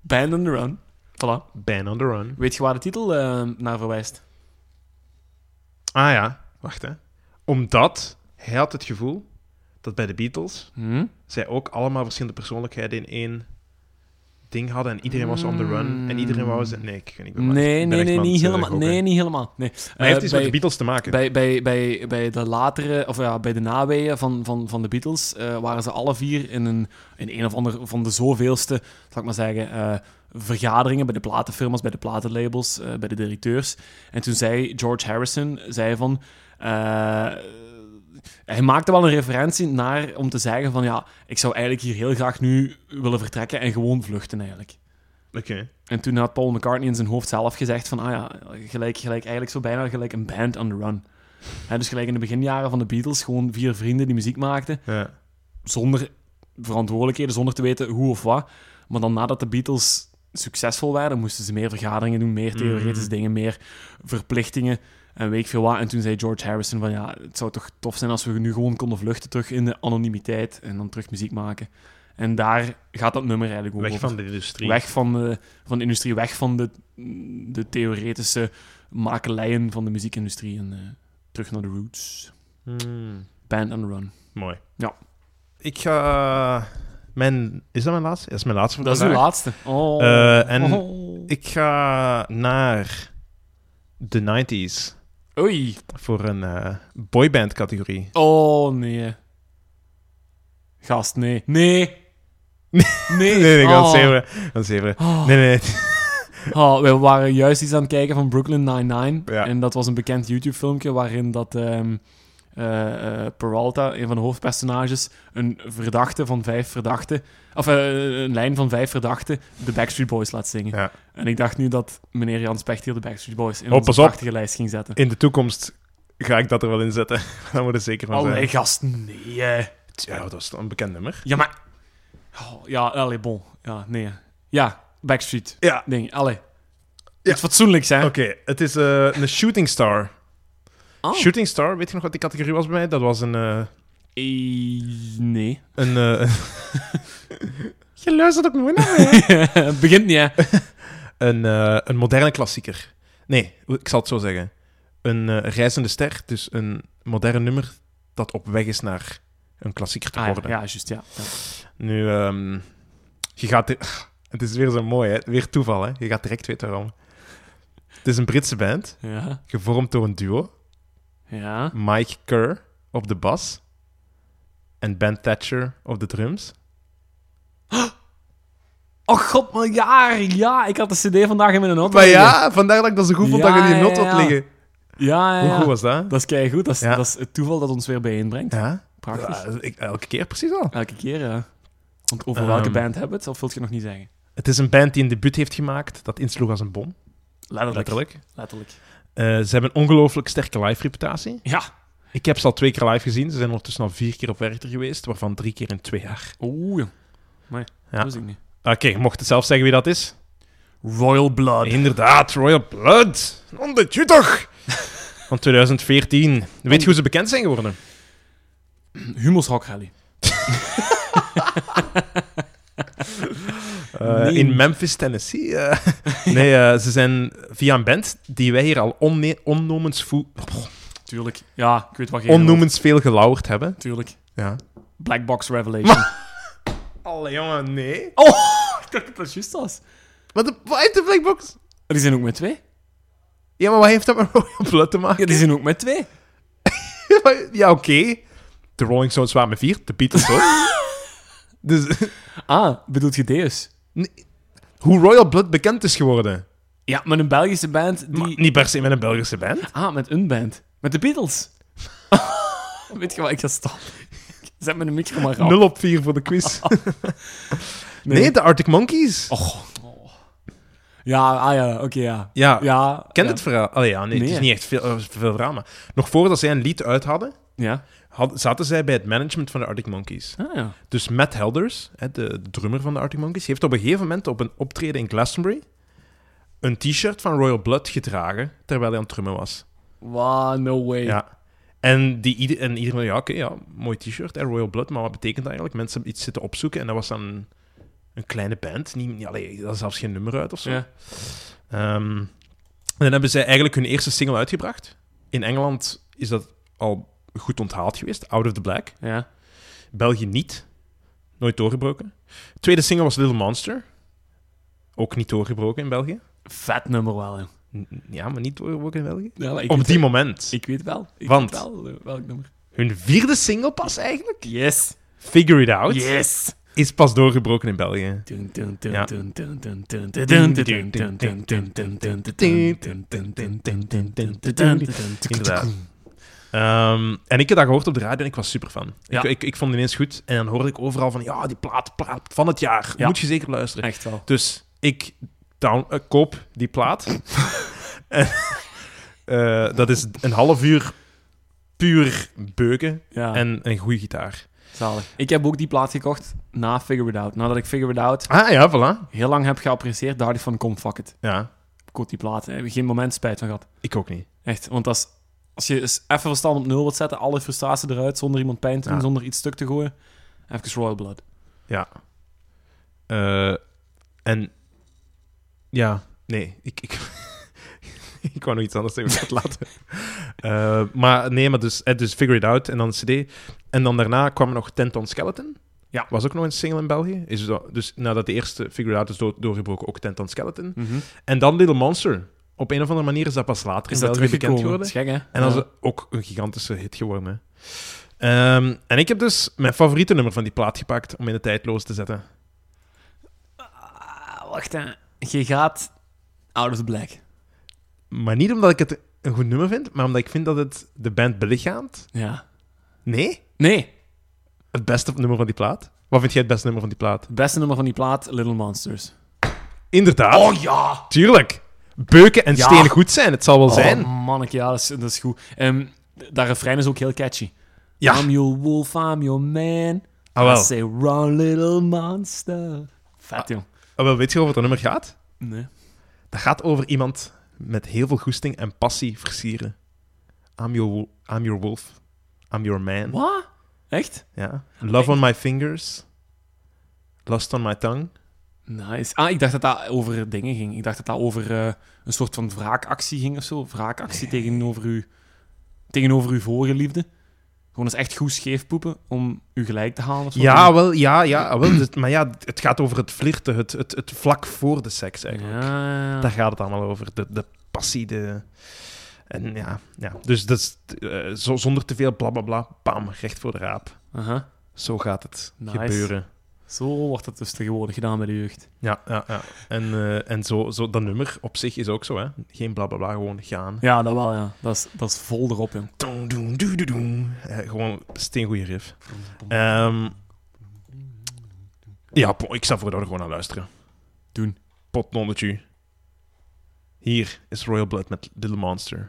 Band on the Run. Voilà. Ban on the Run. Weet je waar de titel eh, naar verwijst? Ah ja, wacht hè. Omdat hij had het gevoel dat bij de Beatles Hm? zij ook allemaal verschillende persoonlijkheden in één ding hadden en iedereen was on the run en iedereen wou zijn... Nee, ik, ik ben maar- Hmm. Nee, ik ben nee, echt nee, aan niet het, eh, helemaal. gokken. Nee, niet helemaal. Nee. Maar heeft Eh, iets bij- met de Beatles te maken. Bij, bij, bij, bij de latere, of ja, bij de naweeën van, van, van de Beatles eh, waren ze alle vier in een, in een of ander van de zoveelste, zal ik maar zeggen, eh, vergaderingen bij de platenfirma's, bij de platenlabels, eh, bij de directeurs. En toen zei George Harrison, zei van... eh, hij maakte wel een referentie naar om te zeggen van ja, ik zou eigenlijk hier heel graag nu willen vertrekken en gewoon vluchten eigenlijk. Oké. En toen had Paul McCartney in zijn hoofd zelf gezegd van, ah ja, gelijk, gelijk, eigenlijk zo bijna gelijk een band on the run. Hè, dus gelijk in de beginjaren van de Beatles, gewoon vier vrienden die muziek maakten, Ja. zonder verantwoordelijkheden, zonder te weten hoe of wat. Maar dan nadat de Beatles succesvol werden, moesten ze meer vergaderingen doen, Mhm. meer theoretische dingen, meer verplichtingen en weet ik veel wat. En toen zei George Harrison van, ja, het zou toch tof zijn als we nu gewoon konden vluchten terug in de anonimiteit en dan terug muziek maken. En daar gaat dat nummer eigenlijk ook Weg over van de industrie. weg van de, van de industrie, weg van de, de theoretische makelijen van de muziekindustrie en eh, terug naar de roots. Hmm, Band on the run. Mooi. Ja. Ik ga... Mijn... Is dat mijn laatste? Dat is mijn laatste voor Dat is de vandaag. laatste. Oh. Eh, en Oh. Ik ga naar de 90s Oei. voor een eh, boyband categorie. Oh, nee. Gast, nee. Nee. Nee, Nee. Nee, nee, ik Oh. was zeveren. Dat zeveren. Oh. Nee, nee. Oh, we waren juist iets aan het kijken van Brooklyn Nine-Nine. Ja. En dat was een bekend YouTube-filmpje waarin dat ehm, eh, eh, Peralta, een van de hoofdpersonages, een verdachte van vijf verdachten, of eh, een lijn van vijf verdachten, de Backstreet Boys laat zingen. Ja. En ik dacht nu dat meneer Jan Specht hier de Backstreet Boys in Oh, onze pas op. prachtige lijst ging zetten. In de toekomst ga ik dat er wel in zetten. Daar moet ik zeker van Allee, zijn. Oh, gast, nee. eh. Oh, Ja, dat was een bekend nummer. Ja, maar... Oh, ja, allee, bon. Ja, nee. Ja, Backstreet. Ja, Ding, allee. Ja. Iets fatsoenlijks, hè? oké. Het is eh, een Shooting Star. Oh. Shooting Star, weet je nog wat die categorie was bij mij? Dat was een... eh, Eh, nee. een eh, je luistert ook nooit naar mij. Het begint niet, hè? een, eh, een moderne klassieker. Nee, ik zal het zo zeggen. Een eh, reizende ster, dus een modern nummer dat op weg is naar een klassieker te Ah, ja, worden. ja, juist, ja. ja. Nu, ehm, je gaat... di- Het is weer zo mooi, hè? Weer toeval, hè? Je gaat direct weten waarom. Het is een Britse band, Ja, gevormd door een duo. ja. Mike Kerr op de bas en Ben Thatcher op de drums. Oh god, miljaar! Ja, ik had de cd vandaag in mijn auto. Maar ja, vandaar dat ik dat zo goed vond dat Ja, je die not ja, had ja. liggen. Ja, ja, Hoe ja. goed was dat? Dat is keigoed. Dat is, Ja. dat is het toeval dat ons weer bijeenbrengt. Ja, Prachtig. Ja, ik, elke keer precies al. Elke keer, ja. Want over Ehm. welke band hebben we het? Dat wil je nog niet zeggen. Het is een band die een debuut heeft gemaakt dat insloeg als een bom, Letterlijk. Letterlijk. letterlijk. Eh, ze hebben een ongelooflijk sterke live-reputatie. Ja. Ik heb ze al twee keer live gezien. Ze zijn ondertussen al vier keer op Werchter geweest, waarvan drie keer in twee jaar. Oeh. Maar Ja. dat wist ik niet. Oké, je mocht het zelf zeggen wie dat is. Royal Blood. Inderdaad, Royal Blood. Omdat je toch? Van 2014. Weet je hoe ze bekend zijn geworden? Humus Rock Rally. Eh, Nee. In Memphis, Tennessee. eh. nee, eh, ze zijn via een band die wij hier al onne- onnomens, vo- Tuurlijk. Ja, ik weet wat je onnomens veel gelauwerd hebben. bedoelt. Tuurlijk. Ja. Black Box Revelation. Alle jongen, nee. Oh, ik dacht dat dat juist was. Wat de wat heeft de Black Box? Die zijn ook met twee. Ja, maar wat heeft dat met Royal Blood te Ja, maken? die zijn ook met twee. ja, oké. De Rolling Stones waren met vier, de Beatles ook. dus Ah, bedoelt je Deus? hoe Royal Blood bekend is geworden. Ja, met een Belgische band die... Maar Ah, niet per se met een Belgische band. Ah, met een band. Met de Beatles. Weet je wat, ik ga stoppen. Zet mijn micro maar af. 0 op 4 voor de quiz. nee. de Arctic Monkeys. Och. oh. Ja, ah ja, oké, ja. ja, Ja. ken ja. het verhaal? Allee, ja, nee, het Nee. is niet echt veel, eh, veel drama. Nog voordat zij een lied uit hadden, Ja. had- zaten zij bij het management van de Arctic Monkeys. Ah ja. Dus Matt Helders, hè, de, de drummer van de Arctic Monkeys, heeft op een gegeven moment op een optreden in Glastonbury een t-shirt van Royal Blood gedragen terwijl hij aan het drummen was. Wow, no way. Ja. En, die, ieder- en iedereen, ja, oké, ja, mooi t-shirt, hè, Royal Blood, maar wat betekent dat eigenlijk? Mensen hebben iets zitten opzoeken en dat was dan een, een kleine band. Niet, niet, allee, dat is zelfs geen nummer uit of zo. Ja. Ehm, en dan hebben zij eigenlijk hun eerste single uitgebracht. In Engeland is dat al goed onthaald geweest, Out of the Black. Ja. België niet, nooit doorgebroken. Tweede single was Little Monster, ook niet doorgebroken in België. Vet nummer wel, joh. N- Ja, maar niet doorgebroken in België. Ja, maar ik Op weet die het- moment. Ik weet wel. Ik Want- weet wel eh, welk nummer. Hun vierde single pas eigenlijk, Yes. Figure It Out, Yes. is pas doorgebroken in België. Ja. Inderdaad. Ehm, en ik heb dat gehoord op de radio en ik was super fan. Ja. Ik, ik, ik vond het ineens goed. En dan hoorde ik overal van, ja, die plaat, plaat van het jaar. Ja. Moet je zeker luisteren. Echt wel. Dus ik down, eh, koop die plaat. En, eh, dat is een half uur puur beuken Ja, en een goede gitaar. zalig. Ik heb ook die plaat gekocht na Figure It Out. Nadat ik Figure It Out Ah ja, voilà. heel lang heb geapprecieerd, dacht ik van, kom, fuck it. Ja, Koop die plaat. Daar heb ik geen moment spijt van gehad. ik ook niet. Echt, want als, als je eens even verstand op nul wilt zetten, alle frustratie eruit, zonder iemand pijn te doen, Ja. zonder iets stuk te gooien, even Royal Blood. Eh, en ja, nee, ik, ik, ik wou nog iets anders zeggen, maar ik ga het laten. Eh, maar nee, maar dus, eh, dus Figure It Out en dan een CD. En dan daarna kwam er nog Tenton Skeleton. Ja. Was ook nog een single in België. Is dat, dus nadat de eerste Figure It Out is door- doorgebroken, ook Tenton Skeleton. En dan Little Monster. Op een of andere manier is dat pas later in Is dat België bekend teruggekomen? Dat geworden. is gek, hè? En dat is ook een gigantische hit geworden. hè. Ehm, en ik heb dus mijn favoriete nummer van die plaat gepakt om in de tijdloos te zetten. Ah, wacht, hè. Je gaat out of the black. Maar niet omdat ik het een goed nummer vind, maar omdat ik vind dat het de band belichaamt. Ja. Nee, Nee, het beste nummer van die plaat. Wat vind jij het beste nummer van die plaat? het beste nummer van die plaat, Little Monsters. Inderdaad, ja! tuurlijk. Beuken en Oh. Ja. stenen goed zijn, het zal wel zijn. Oh, manneke, ja, dat is, dat is goed. Ehm dat refrein is ook heel catchy. Ja. I'm your wolf, I'm your man. Ah, wel. I say run, little monster. Vet, jong. Ah, wel, weet je over dat nummer gaat? Nee. Dat gaat over iemand met heel veel goesting en passie versieren. I'm your, wo- I'm your wolf. I'm your man. Wat? Echt? Ja. Love on my fingers. Lust on my tongue. Nice. Ah, ik dacht dat dat over dingen ging. Ik dacht dat dat over eh, een soort van wraakactie ging of zo. Wraakactie tegenover, u, tegenover uw vorige liefde. Gewoon eens echt goed scheef poepen om u gelijk te halen of zo. Ja, wel, ja, ja. ah, Wel, dus- maar ja, het gaat over het flirten, het, het, het vlak voor de seks Ja, eigenlijk. ja, Daar ja. gaat het allemaal over. De, de passie, de... En ja, ja. dus dat is, eh, zo, zonder te veel blablabla, bam, recht voor de raap. Aha. Zo gaat het Nice. gebeuren. Zo wordt dat dus tegenwoordig gedaan bij de jeugd. Ja, ja, ja. En, eh, en zo, zo, dat nummer op zich is ook zo, hè. Geen blablabla, gewoon gaan. Ja, dat wel, ja. Dat is, dat is vol erop, jong. Doen, doen, doen, doen, doen. Eh, gewoon steengoeie riff. Ehm, ja, po- ik sta voor dat we er gewoon aan luisteren. Doen. Potnonnetje. Hier is Royal Blood met Little Monster.